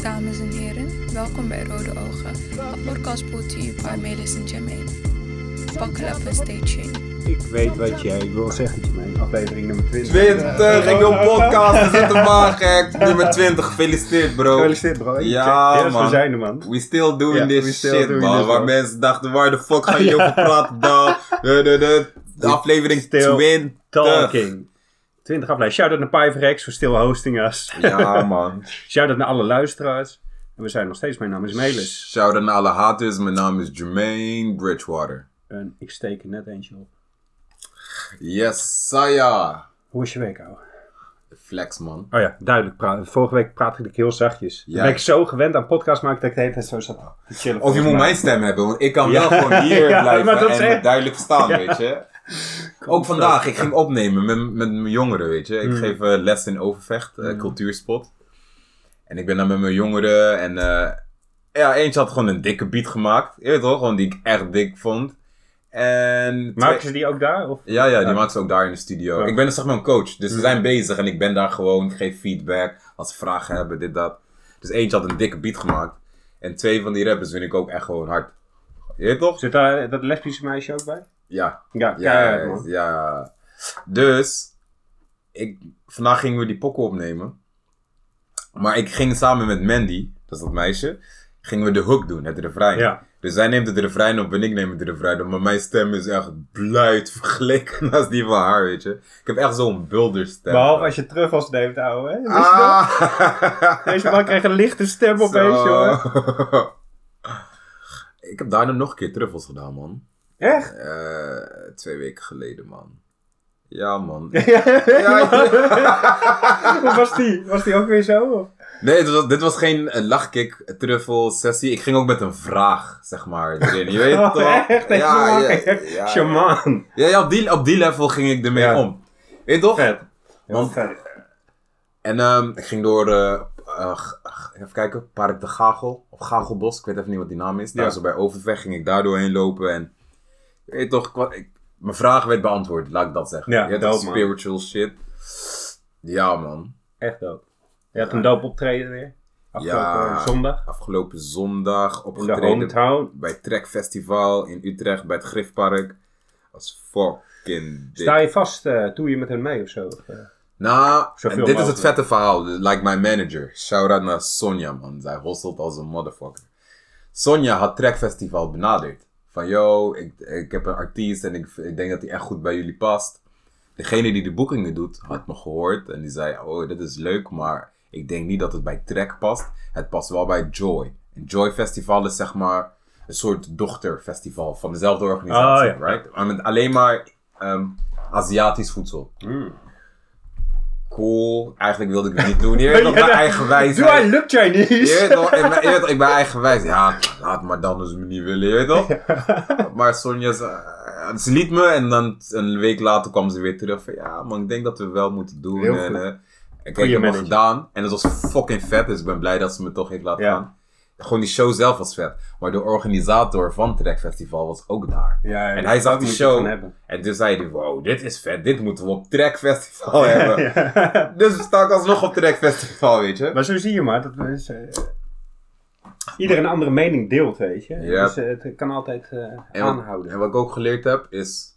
dames en heren. Welkom bij Rode Ogen, een podcast brought to you by Melis en Jermaine. Buckle up and stay tuned. Ik weet wat jij wil zeggen, Jermaine. Aflevering nummer 20. 20! Ik wil podcast, we zitten maar gek. Nummer 20, gefeliciteerd bro. Gefeliciteerd, bro. Ja, Check. Yes, we man. zijn er, man. We still doing Ja, we this still shit doing man. this, Waar man. mensen dachten, waar de fuck gaan jullie over praten dan? De, de, de, de aflevering still 20. Talking. 20 aflevering. Shout-out naar Pyverex voor stil hosting us. Ja man. Shout-out naar alle luisteraars. En we zijn nog steeds, mijn naam is Melis. Shout out naar alle haters, mijn naam is Jermaine Bridgewater. En ik steek er net eentje op. Yes, Saya. Hoe is je week, ouwe? Flex man. Oh ja, duidelijk. praten. Vorige week praatte ik heel zachtjes. Ja. Dan ben ik zo gewend aan podcast maken dat ik de hele tijd zo zat. te chillen. Of je moet mijn stem hebben, want ik kan Ja. wel gewoon hier Ja, blijven maar dat en zeg ik. duidelijk verstaan, weet je. Ook vandaag, ik ging opnemen met, met mijn jongeren, weet je. Ik Hmm. geef eh, les in Overvecht, eh, cultuurspot. En ik ben daar met mijn jongeren en... eh, ja, eentje had gewoon een dikke beat gemaakt. Je weet toch, gewoon die ik echt dik vond. En... Maken ze die ook daar? Of? Ja, ja, die maakt ze ook daar in de studio. Ja. Ik ben dus zeg maar een coach, dus ze zijn bezig en ik ben daar gewoon, ik geef feedback als ze vragen hebben, dit, dat. Dus eentje had een dikke beat gemaakt. En twee van die rappers vind ik ook echt gewoon hard. Je weet toch? Zit daar dat lesbische meisje ook bij? Ja, Ja, ja, keihard, man. ja. Dus, ik, vandaag gingen we die pokken opnemen. Maar ik ging samen met Mandy, dat is dat meisje, gingen we de hook doen, het refrein. Ja. Dus zij neemt het refrein op en ik neem het refrein op. Maar mijn stem is echt bluit vergeleken als die van haar, weet je. Ik heb echt zo'n bulderstem. Behalve als je truffels neemt, ouwe. Hè? Wist je dat? Ah! Deze man krijgt een lichte stem opeens, jongen. Zo. Ik heb daarna nog een keer truffels gedaan, man. Echt? Eh, twee weken geleden, man. Ja, man. Hoe was die? Was die ook weer zo? of? Nee, dit was, dit was geen eh, lachkick, eh, truffel, sessie. Ik ging ook met een vraag, zeg maar, erin. Je weet Oh, toch? echt? Deze man echt ja, Shaman. Ja, ja, op, die, op die level ging ik ermee Ja. om. Weet je toch? Vet. Want- En ehm, ik ging door, eh, eh, g- g- even kijken, Park de Gagel, of Gagelbos, ik weet even niet wat die naam is. Daar Ja. zo bij Overweg ging ik daar doorheen lopen en, je weet toch, ik wa- ik- mijn vraag werd beantwoord, laat ik dat zeggen. Ja, je hebt toch dope, man. spiritual shit. Ja man, Echt dope. Je had een dope optreden weer. Afgelopen eh, Ja. zondag. afgelopen zondag In de opgetreden hometown. bij Trek Festival in Utrecht bij het Grifpark. Als fucking dik. Sta je vast, eh doe je met hen mee of zo? Of, eh? Nou, en Zoveel dit is het mogelijk. vette verhaal. Like my manager. Shout out naar Sonja, man. Zij hustelt als een motherfucker. Sonja had Track Festival benaderd. Van, yo, ik, ik heb een artiest en ik, ik denk dat hij echt goed bij jullie past. Degene die de boekingen doet, had me gehoord. En die zei, oh, dit is leuk, maar ik denk niet dat het bij Track past. Het past wel bij Joy. En Joy Festival is zeg maar een soort dochterfestival van dezelfde organisatie. Oh, ja. right? Maar met alleen maar ehm, Aziatisch voedsel Mm. cool. Eigenlijk wilde ik het niet doen. Je weet toch, mijn eigen Doe hij wijsheid. lukt jij niet? Je weet toch, ik ben, je weet toch, ik ben eigenwijs. Ja, laat maar dan als ze me niet willen, je weet toch? Maar Sonja, ze, eh, ze liet me en dan een week later kwam ze weer terug van... Ja man, ik denk dat we wel moeten doen. Heel en, goed. eh, ik heb Goeie het al manager. gedaan. En het was fucking vet, dus ik ben blij dat ze me toch heeft laten Ja. gaan. Gewoon die show zelf was vet. Maar de organisator van Trek Festival was ook daar. Ja, ja, en hij zag dat die moet je van show. hebben. En toen zei hij, wow, dit is vet. Dit moeten we op Trek Festival hebben. Dus we staan alsnog op Trek Festival, weet je. Maar zo zie je maar dat mensen. eh, ieder een andere mening deelt, weet je. Ja. Dus eh, het kan altijd eh, En wat, aanhouden. en wat ik ook geleerd heb is.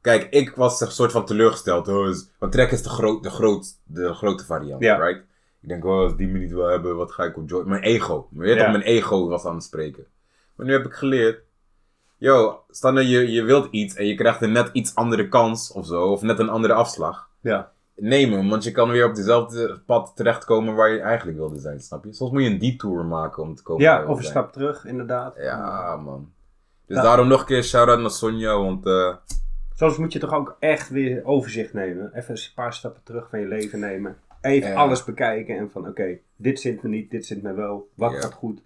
Kijk, ik was een soort van teleurgesteld. Oh, is- want Trek is de, groot, de, groot, de grote variant, Ja. right? Ik denk, oh, als die me niet wil hebben, wat ga ik op Joy? Mijn ego. Je weet Ja. toch, mijn ego was aan het spreken. Maar nu heb ik geleerd. Yo, stel nou je, je wilt iets en je krijgt een net iets andere kans of zo. Of net een andere afslag. Ja. Neem hem, want je kan weer op dezelfde pad terechtkomen waar je eigenlijk wilde zijn, snap je? Soms moet je een detour maken om te komen waar ja, je of wil een zijn. stap terug, inderdaad. Ja, man. Dus Ja. daarom nog een keer shout-out naar Sonja, want... eh, Soms moet je toch ook echt weer overzicht nemen. Even een paar stappen terug van je leven nemen. Even Ja. alles bekijken en van oké, dit zint me niet, dit zint me wel. Wat Ja. gaat goed?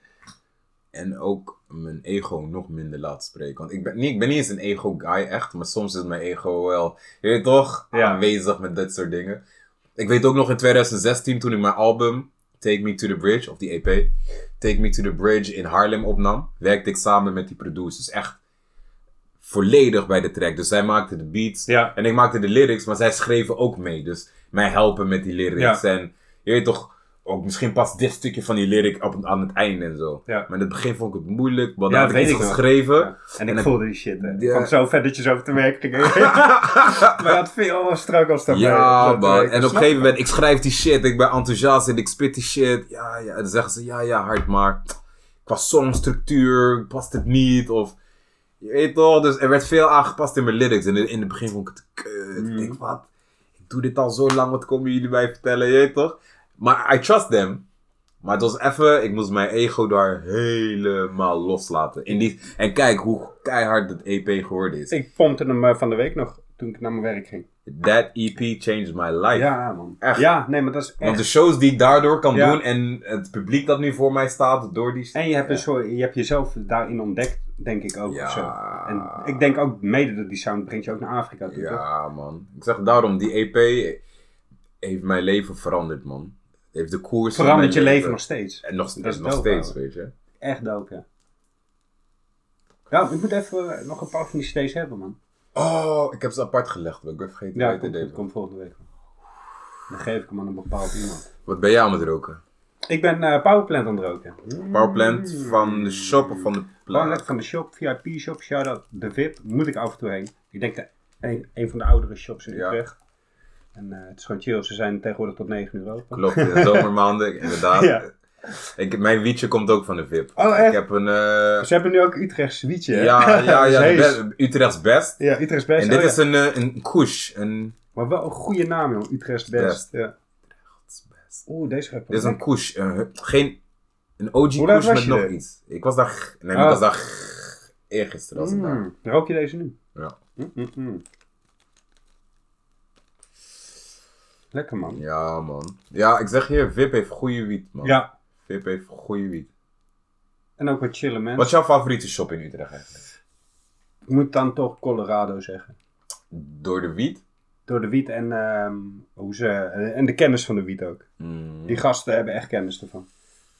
en ook mijn ego nog minder laat spreken. Want ik ben, niet, ik ben niet eens een ego-guy, echt. Maar soms is mijn ego wel, je weet toch, Ja. aanwezig met dit soort dingen. Ik weet ook nog in 2016, toen ik mijn album Take Me To The Bridge, of die EP... Take Me To The Bridge in Harlem opnam, werkte ik samen met die producers. Echt volledig bij de track. Dus zij maakte de beats Ja. en ik maakte de lyrics, maar zij schreven ook mee. Dus mij helpen met die lyrics. En je weet toch, ook misschien pas dit stukje van die lyric op, aan het einde en zo. Ja. Maar in het begin vond ik het moeilijk, want Ja, daar had dat ik weet iets ik nog. geschreven. Ja. En ik dan- voelde die shit. hè. Ja. Vond ik zo vet dat je zo over te werk ging. maar dat veel al strak als dat. Ja, dat- ik man. En op een snap gegeven moment, ik schrijf die shit, ik ben enthousiast en ik spit die shit. Ja, ja. En dan zeggen ze, ja, ja, hard, maar qua songstructuur past het niet. Of, je weet toch, dus er werd veel aangepast in mijn lyrics. En in in het begin vond ik het kut. Mm. Ik denk, wat? Ik doe dit al zo lang, wat komen jullie mij vertellen, je weet toch? Maar I trust them. Maar het was even, ik moest mijn ego daar helemaal loslaten. In die, en kijk hoe keihard het EP geworden is. Ik pompte hem eh, van de week nog, toen ik naar mijn werk ging. That EP changed my life. Ja, man. Echt. Ja, nee, maar dat is Want dus- echt... de shows die ik daardoor kan Ja. doen en het publiek dat nu voor mij staat door die... En je hebt, een soort, je hebt jezelf daarin ontdekt, denk ik ook. Ja. of Zo. En ik denk ook mede door die sound brengt je ook naar Afrika toe, toch? Ja, man. Ik zeg daarom, die EP heeft mijn leven veranderd, man. Heeft de koers van Verandert je mijn leven nog steeds. En nog, Dat is nog dope, steeds, ouwe. weet je. Echt dope, ja. Ja, ik moet even eh, nog een paar van die steeds hebben, man. Oh, ik heb ze apart gelegd. maar Ik ben vergeten Ja, hoe het komt idee goed, komt volgende week. Dan geef ik hem aan een bepaald iemand. was. Wat ben jij aan het roken? Ik ben eh, Powerplant aan het roken. Powerplant van de shop of van de Gewoon plaat? lekker van de shop, VIP shop, shout-out, de VIP, moet ik af en toe heen. Ik denk de, een, een van de oudere shops in Ja. Utrecht. En eh, het is gewoon chill, ze zijn tegenwoordig tot 9 uur open. Klopt, in de zomermaanden, inderdaad. Ja. Ik, mijn wietje komt ook van de VIP. Oh, echt? Ik heb een... eh, Ze hebben nu ook Utrechts wietje. hè? ja, ja, ja, de Zees. be- Utrecht's best. ja, Utrechts best. En dit oh ja. is een, eh, een koesh, een Maar wel een goede naam, joh. Utrechts best. Best. Ja. Oeh, deze gaat Dit is een koesh. eh, geen, een OG Hoe laat koesh was met je nog er? iets. Ik was daar... g- Nee, Oh. ik was daar... g- Eergisteren was ik daar. Mm, Rook je deze nu? Ja. Mm, mm, mm. Lekker, man. Ja, man. Ja, ik zeg je, VIP heeft goede wiet, man. Ja, VIP heeft goede wiet. en ook wat chillen, mensen. Wat is jouw favoriete shop in Utrecht eigenlijk? Ik moet dan toch Colorado zeggen. Door de wiet? Door de wiet en, ehm, hoe ze, eh, en de kennis van de wiet ook. Mm. Die gasten hebben echt kennis ervan.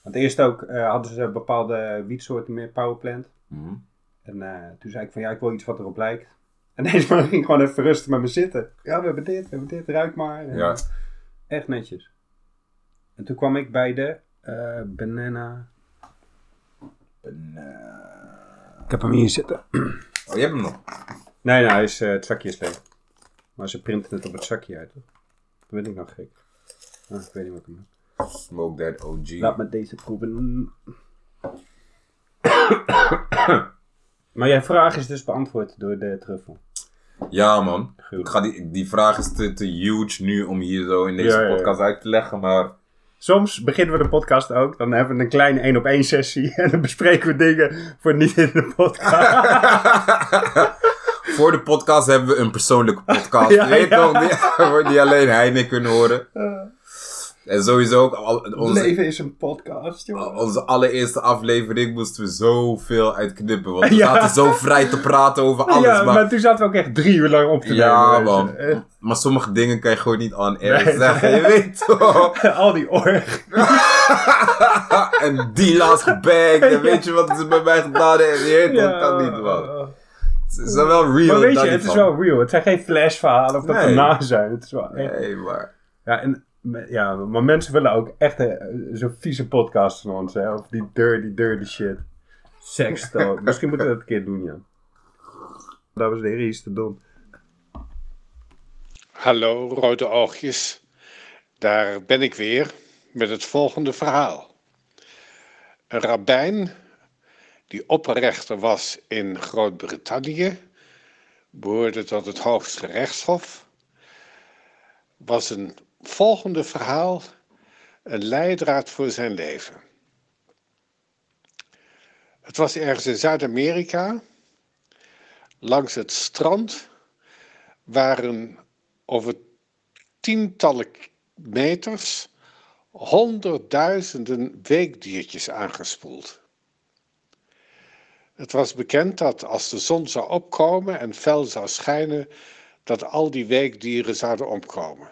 Want eerst ook eh, hadden ze bepaalde wietsoorten meer powerplant. Mm. En eh, toen zei ik van ja, ik wil iets wat erop lijkt. En deze man ging gewoon even rustig met me zitten. Ja, we hebben dit, we hebben dit, ruik maar. En, Ja. Echt netjes. En toen kwam ik bij de eh, banana. Ik heb hem hier zitten. Oh, je hebt hem nog. Nee, nou, hij is, eh, het zakje is leeg. Maar ze printen het op het zakje uit, toch? Dat ben ik nog gek. Ah, ik weet niet wat ik hem heb. Smoke that OG. Laat me deze proeven. maar jouw vraag is dus beantwoord door de truffel. Ja, man. Ik Gruwelijk. ga die, die vraag is te, te huge nu om hier zo in deze Ja, ja, ja. podcast uit te leggen, maar... Soms beginnen we de podcast ook. Dan hebben we een kleine één op één sessie. En dan bespreken we dingen voor niet in de podcast. Voor de podcast hebben we een persoonlijke podcast. Ja, Je weet ja. toch, die, wordt die alleen hij en ik kunnen horen. En sowieso ook al- onze, is een podcast, joh. onze allereerste aflevering moesten we zoveel uitknippen. Want we Ja. zaten zo vrij te praten over alles. ja, maar... maar, toen zaten we ook echt drie uur lang op te nemen. ja, weet je. man. Eh, maar sommige dingen kan je gewoon niet on air Nee. zeggen. Je weet toch? Al die org. en die last bag. Dan weet je wat ze bij mij gedaan hebben. Je weet toch, Ja. kan niet, man. Het is wel real. Maar weet daar je, niet het is van. wel real. Het zijn geen flashverhalen of dat Nee. er na zijn. Het is wel echt Nee, maar... Ja, en, me- ja, maar mensen willen ook echt eh, zo'n vieze podcast van ons, hè? Of die dirty, dirty shit. Sextalk. Misschien moeten we dat een keer doen, ja. Dames en heren, hier is de Don. Hallo rode oogjes, daar ben ik weer met het volgende verhaal. Een rabbijn die opperrechter was in Groot-Brittannië, behoorde tot het hoogste rechtshof, was een volgende verhaal een leidraad voor zijn leven. Het was ergens in Zuid-Amerika, langs het strand, waar een over tientallen meters honderdduizenden weekdiertjes aangespoeld. Het was bekend dat als de zon zou opkomen en fel zou schijnen, dat al die weekdieren zouden omkomen.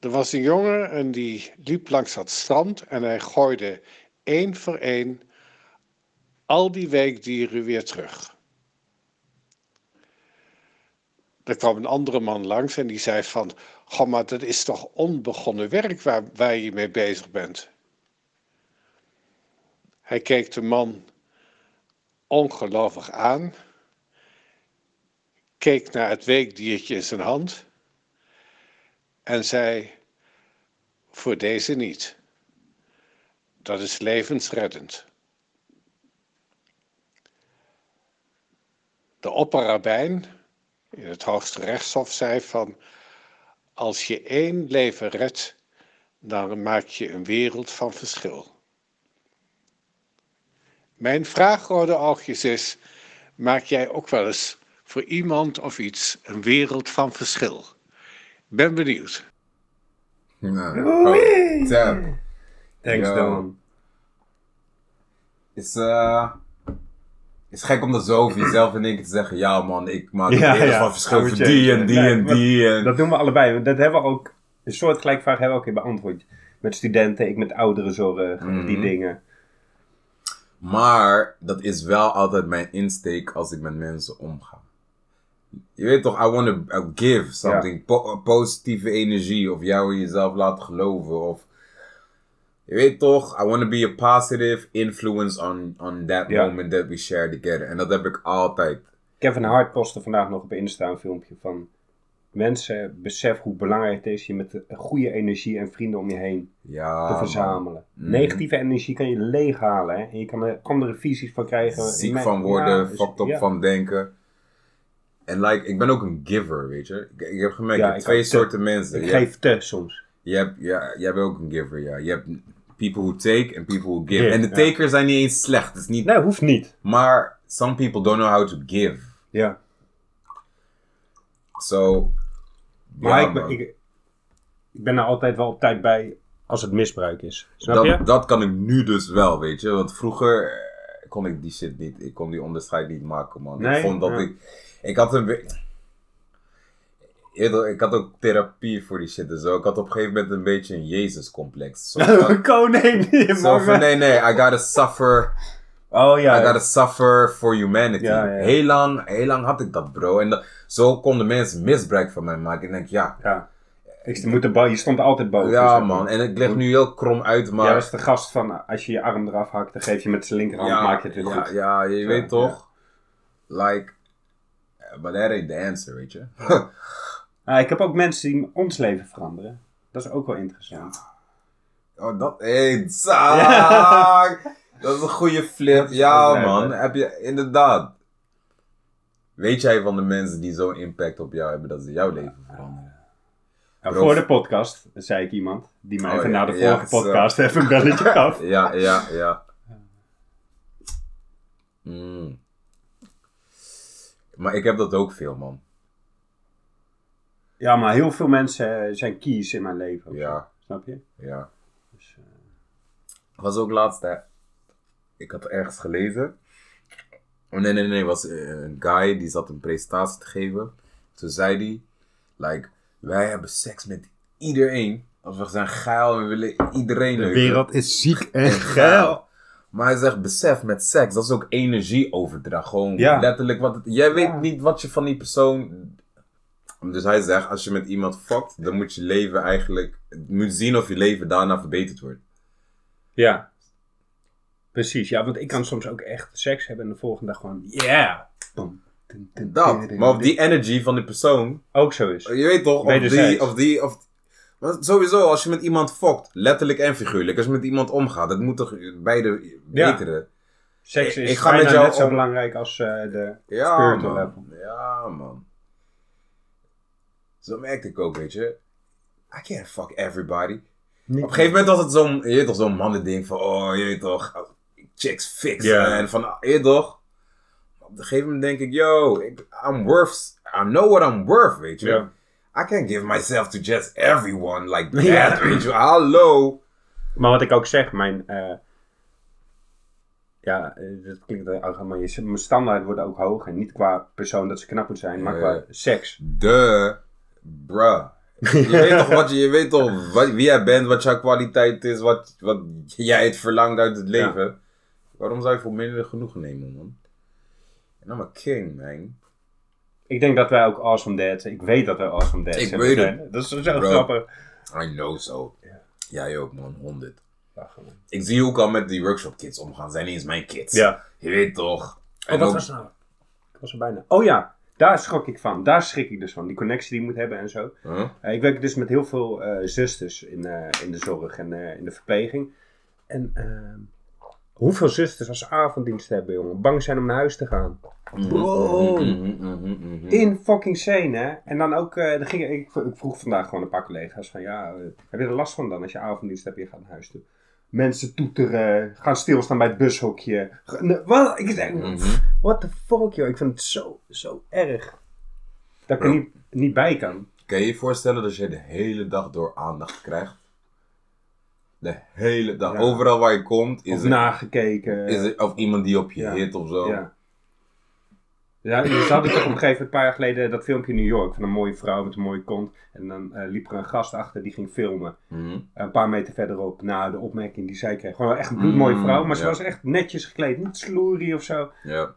Er was een jongen en die liep langs dat strand en hij gooide één voor één al die weekdieren weer terug. Er kwam een andere man langs en die zei van... Goh, maar dat is toch onbegonnen werk waar, waar je mee bezig bent? Hij keek de man ongelovig aan, keek naar het weekdiertje in zijn hand en zei: Voor deze niet. Dat is levensreddend. De opperrabijn in het hoogste rechtshof zei van als je één leven redt, dan maak je een wereld van verschil. Mijn vraag, Rode Oogjes, is: maak jij ook wel eens voor iemand of iets een wereld van verschil? Ik ben benieuwd. Nou, Oei. oh, Tab. Thanks, Yo. Don. is, eh is gek om dat zo over jezelf in één keer te zeggen. Ja man, ik maak Ja, een wereld ja. van verschil I voor would die change. en die Nee, en maar die. En... Dat doen we allebei. want Dat hebben we ook, een soort gelijkvraag hebben we ook in beantwoord. Met studenten, ik met ouderenzorg, Mhm. die dingen. Maar dat is wel altijd mijn insteek als ik met mensen omga. Je weet toch, I want to give something. Po- positieve energie. Of jou in jezelf laten geloven. Of, je weet toch, I want to be a positive influence on, on that Ja. moment that we share together. En dat heb ik altijd. Kevin Hart postte vandaag nog op Insta een filmpje van... Mensen, besef hoe belangrijk het is je met de goede energie en vrienden om je heen Ja, te Ah, man. verzamelen. Mhm. Negatieve energie kan je leeghalen. Hè? En je kan er andere visies van krijgen. ziek Me- van worden, Ja, fucked up ja. van denken. En like, ik ben ook een giver, weet je. Ik, ik heb gemerkt, Ja, je hebt ik twee ook. soorten mensen. Ik Je hebt- geef te soms. Je hebt, ja, jij bent ook een giver, ja. Je hebt people who take and people who give. Give, en de ja. takers zijn niet eens slecht. Het is niet, Nee, hoeft niet. Maar some people don't know how to give. Ja. So, Maar ja, ik, ben, man. ik, ik ben er altijd wel op tijd bij als het misbruik is. Snap je? dat, dat kan ik nu dus wel, weet je. Want vroeger eh, kon ik die shit niet, ik kon die onderscheid niet maken, man. Nee, ik vond dat ja. ik, ik had een... we- Eerder, ik had ook therapie voor die shit en zo. Ik had op een gegeven moment een beetje een Jezus-complex. Zo van- Koning! je zo mag van, wel. nee, nee, I gotta suffer. Oh I ja. gotta suffer for humanity. Ja, ja, ja. Heel, lang, heel lang had ik dat, bro. En dat- zo konden mensen misbruik van mij maken. En ik denk, ja, ja. Ik moet er bo- je stond altijd boven. ja zeg maar. man. En ik leg nu heel krom uit, maar... Jij was de gast van eh, als je je arm eraf hakt, dan geef je met zijn linkerhand, maak je het weer ja, goed. Ja, je Zo, weet toch? Like, but that ain't the answer, weet je? Ah, ik heb ook mensen die ons leven veranderen. Dat is ook wel interessant. oh, dat ain't zaak! Dat is een goede flip. Ja, leuk, man. hè? Heb je, inderdaad. Weet jij van de mensen die zo'n impact op jou hebben dat ze jouw leven veranderen? Nou, Bro- voor de podcast zei ik iemand, die mij Oh, even ja, na de ja, vorige zo. podcast even een belletje gaf. Ja, ja, ja. Mm. Maar ik heb dat ook veel, man. Ja, maar heel veel mensen eh, zijn keys in mijn leven. of Ja. zo. Snap je? Ja. Dus, Was ook laatst, hè. Ik had ergens gelezen. Oh, nee, nee, nee. was eh, een guy die zat een presentatie te geven. Toen zei hij, like, wij hebben seks met iedereen. Als we zijn geil, we willen iedereen neuken. is ziek En geil. Maar hij zegt, besef, met seks, dat is ook energieoverdracht. Gewoon Ja. letterlijk wat het- Jij weet Ja. niet wat je van die persoon... Dus hij zegt, als je met iemand fuckt, dan moet je leven eigenlijk... Moet je zien of je leven daarna verbeterd wordt. Ja. Precies, ja, want ik kan soms ook echt seks hebben en de volgende dag gewoon, yeah! Boom. Dun, dun, dun, Dat. dun, Maar of dun. die energy van die persoon... ook zo is. Je weet toch, of Wederzijds. die... Of die of, maar sowieso, als je met iemand fokt, letterlijk en figuurlijk, als je met iemand omgaat, dat moet toch beide Ja. beteren? Seks Ik- is ik ga met bijna jou net zo om- belangrijk als eh, de Ja, spiritual man. level. Ja, man. Zo merkte ik ook, weet je. I can't fuck everybody. Niet- Op een gegeven moment was het zo'n, je weet toch, zo'n mannending van, oh, je weet toch, chicks fix. Ja. En van, ah, je weet toch. Op een gegeven moment denk ik, yo, ik, I'm worth, I know what I'm worth, weet je. Ja. I can't give myself to just everyone like that, Ja. weet je. Hallo. Maar wat ik ook zeg, mijn. eh, ja, eh, dat klinkt heel arrogant, maar je- mijn standaarden worden ook hoog. En niet qua persoon dat ze knap moet zijn, maar Ja, qua ja. seks. De, bruh. Je weet toch, wat je, je weet toch wat, wie jij bent, wat jouw kwaliteit is, wat, wat jij het verlangt uit het leven. Waarom zou je voor minder genoegen nemen, man? En I'm a king, man. Ik denk dat wij ook Awesome Dad zijn. Ik weet dat wij Awesome Dad Ik zijn. weet zijn. Dat is zo Bro. grappig. I know so. Jij ook, man. 100. Ja, gewoon. Ik zie ook al met die workshop kids omgaan. Zijn niet eens mijn kids. Ja. Je weet toch. Oh, En wat ook- was nou? Ik was er bijna. Oh ja, daar schrok ik van. Daar schrik ik dus van. Die connectie die je moet hebben en zo. Huh? Eh, ik werk dus met heel veel eh, zusters in, eh, in de zorg en eh, in de verpleging. En ehm, hoeveel zusters als ze avonddienst hebben, jongen. Bang zijn om naar huis te gaan. Bro. Mhm, mhm, mhm. In fucking scène, hè? En dan ook, eh, dan ging, ik, ik vroeg vandaag gewoon een paar collega's van, ja, eh, heb je er last van dan als je avonddienst hebt en je gaat naar huis toe? Mensen toeteren, gaan stilstaan bij het bushokje. Ge- ne- Wat? Ik zeg, Mhm. what the fuck, joh. Ik vind het zo, zo erg. Dat ik er Ja. niet, niet bij kan. Kan je je voorstellen dat je de hele dag door aandacht krijgt? De hele dag. Ja. Overal waar je komt Of is er, nagekeken. is er of iemand die op je Ja. hit of zo. Ja. Ja, ze hadden toch op een gegeven moment, een paar jaar geleden, dat filmpje in New York van een mooie vrouw met een mooie kont. En dan eh, liep er een gast achter die ging filmen. Mhm. Een paar meter verderop, na de opmerking die zij kreeg. Gewoon echt een bloedmooie Mm, vrouw, maar ze ja. was echt netjes gekleed. Niet sloerie of zo. Ja.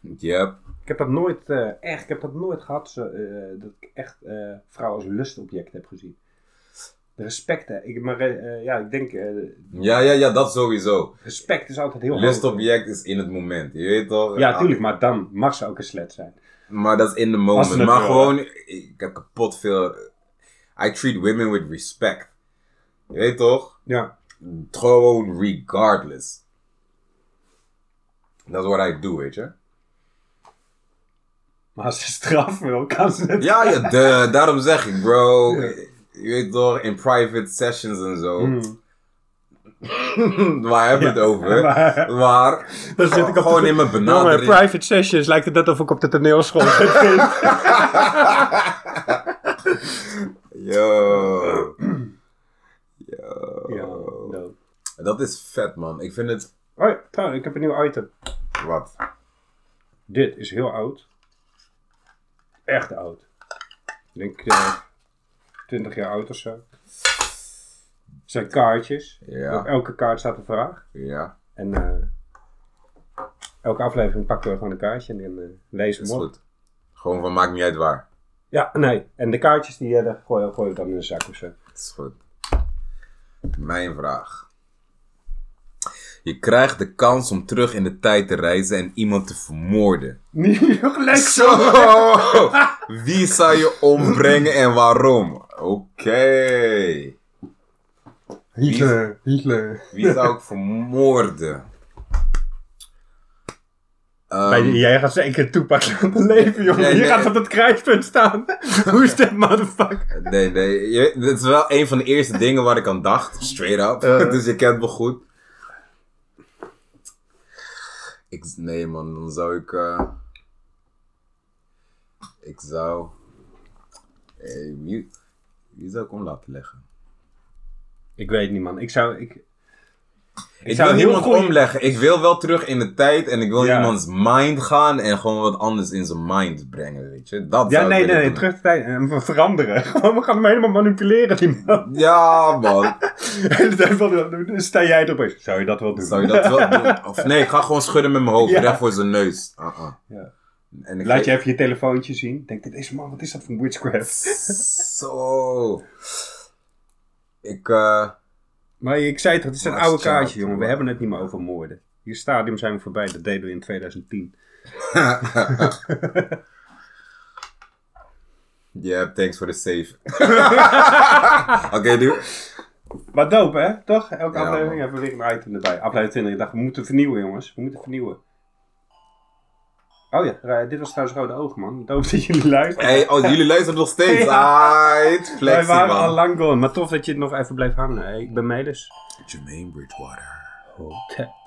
Yep. Ik heb dat nooit, eh, echt, ik heb dat nooit gehad, zo, eh, dat ik echt eh vrouwen als lustobject heb gezien. Respect, hè. Ik, maar eh, ja, ik denk, eh, Ja, ja, ja, dat sowieso. respect is altijd heel hoog. Lustobject is in het moment, je weet toch? Ja, tuurlijk, maar dan mag ze ook een slet zijn. Maar dat is in the Als moment. ze het Maar wil, gewoon, ik heb kapot veel. I treat women with respect. Je weet toch? Ja. Gewoon regardless. That's what I do, weet je? Maar als ze straf wil, kan ze het. Ja, ja de, daarom zeg ik, bro. Je weet toch, in private sessions en zo. Hmm. Waar hebben we het over? maar- Maar, Dan zit ik op gewoon de- in Oh. mijn Jongen, benadering. private sessions lijkt het net of ik op de toneelschool zit. Yo. ja, Dat is vet, man. Ik vind het... Oh ja, trouwens, ik heb een nieuw item. Wat? Dit is heel oud. Echt oud. Ik denk eh 20 jaar oud of zo. Het zijn kaartjes. Op Ja, elke kaart staat een vraag. ja. En eh, elke aflevering pakken we gewoon een kaartje en dan eh, lezen Is we hem op. goed. Gewoon van maakt niet uit waar. Ja, nee. En de kaartjes die eh, daar gooien gooien we dan in de zak of zo. Is goed. Mijn vraag. Je krijgt de kans om terug in de tijd te reizen en iemand te vermoorden. Niet gelijk Zo! Wie zou je ombrengen en waarom? Oké. Hitler, Hitler. Wie zou ik vermoorden? Ehm, jij gaat zeker toepakken aan het leven, jongen. Nee, je nee. gaat op het kruispunt staan. Hoe is dit, motherfucker? Nee, nee. Je- dit is wel een van de eerste dingen waar ik aan dacht. Straight up. dus je kent me goed. Ik, nee, man. Dan zou ik... eh, ik zou... eh, wie, wie zou ik om laten leggen? Ik weet niet, man. Ik zou... Ik, Ik, zou wil heel niemand goeie- omleggen. Ik wil wel terug in de tijd. En ik wil Ja. iemands mind gaan. En gewoon wat anders in zijn mind brengen, weet je. Dat ja, zou nee, ik nee, willen nee. doen. Terug de tijd. En we veranderen. Gewoon, we gaan hem helemaal manipuleren, die man. Ja, man. De hele tijd van, dan Dus sta jij erop eens. Zou je dat wel doen? Zou je dat wel doen? Of nee, ik ga gewoon schudden met mijn hoofd, Ja. recht voor zijn neus. Ah, ah. Ja. En ik Laat je geef- even je telefoontje zien. Denk, dit is man, wat is dat voor witchcraft? Zo. Ik, eh, Maar ik zei het, het is een Maar oude het is kaartje, child, jongen. We man. hebben het niet meer over moorden. Hier stadium zijn we voorbij. Dat deden we in 2010. yeah, thanks for the save. Oké, dude. Maar dope, hè? Toch? Elke Ja, aflevering man. hebben we weer een item erbij. Aflevering 20, ik dacht, we moeten vernieuwen, jongens. We moeten vernieuwen. Oh ja, eh, dit was trouwens Rode Ogen, man. Dope dat jullie luisteren. Hey, oh, jullie luisteren nog steeds. Aight, Wij flexie, waren man. al lang dus. gone, maar tof dat je nog even blijft hangen. Hey, ik ben Melis. Jermaine Bridgewater. Hotel.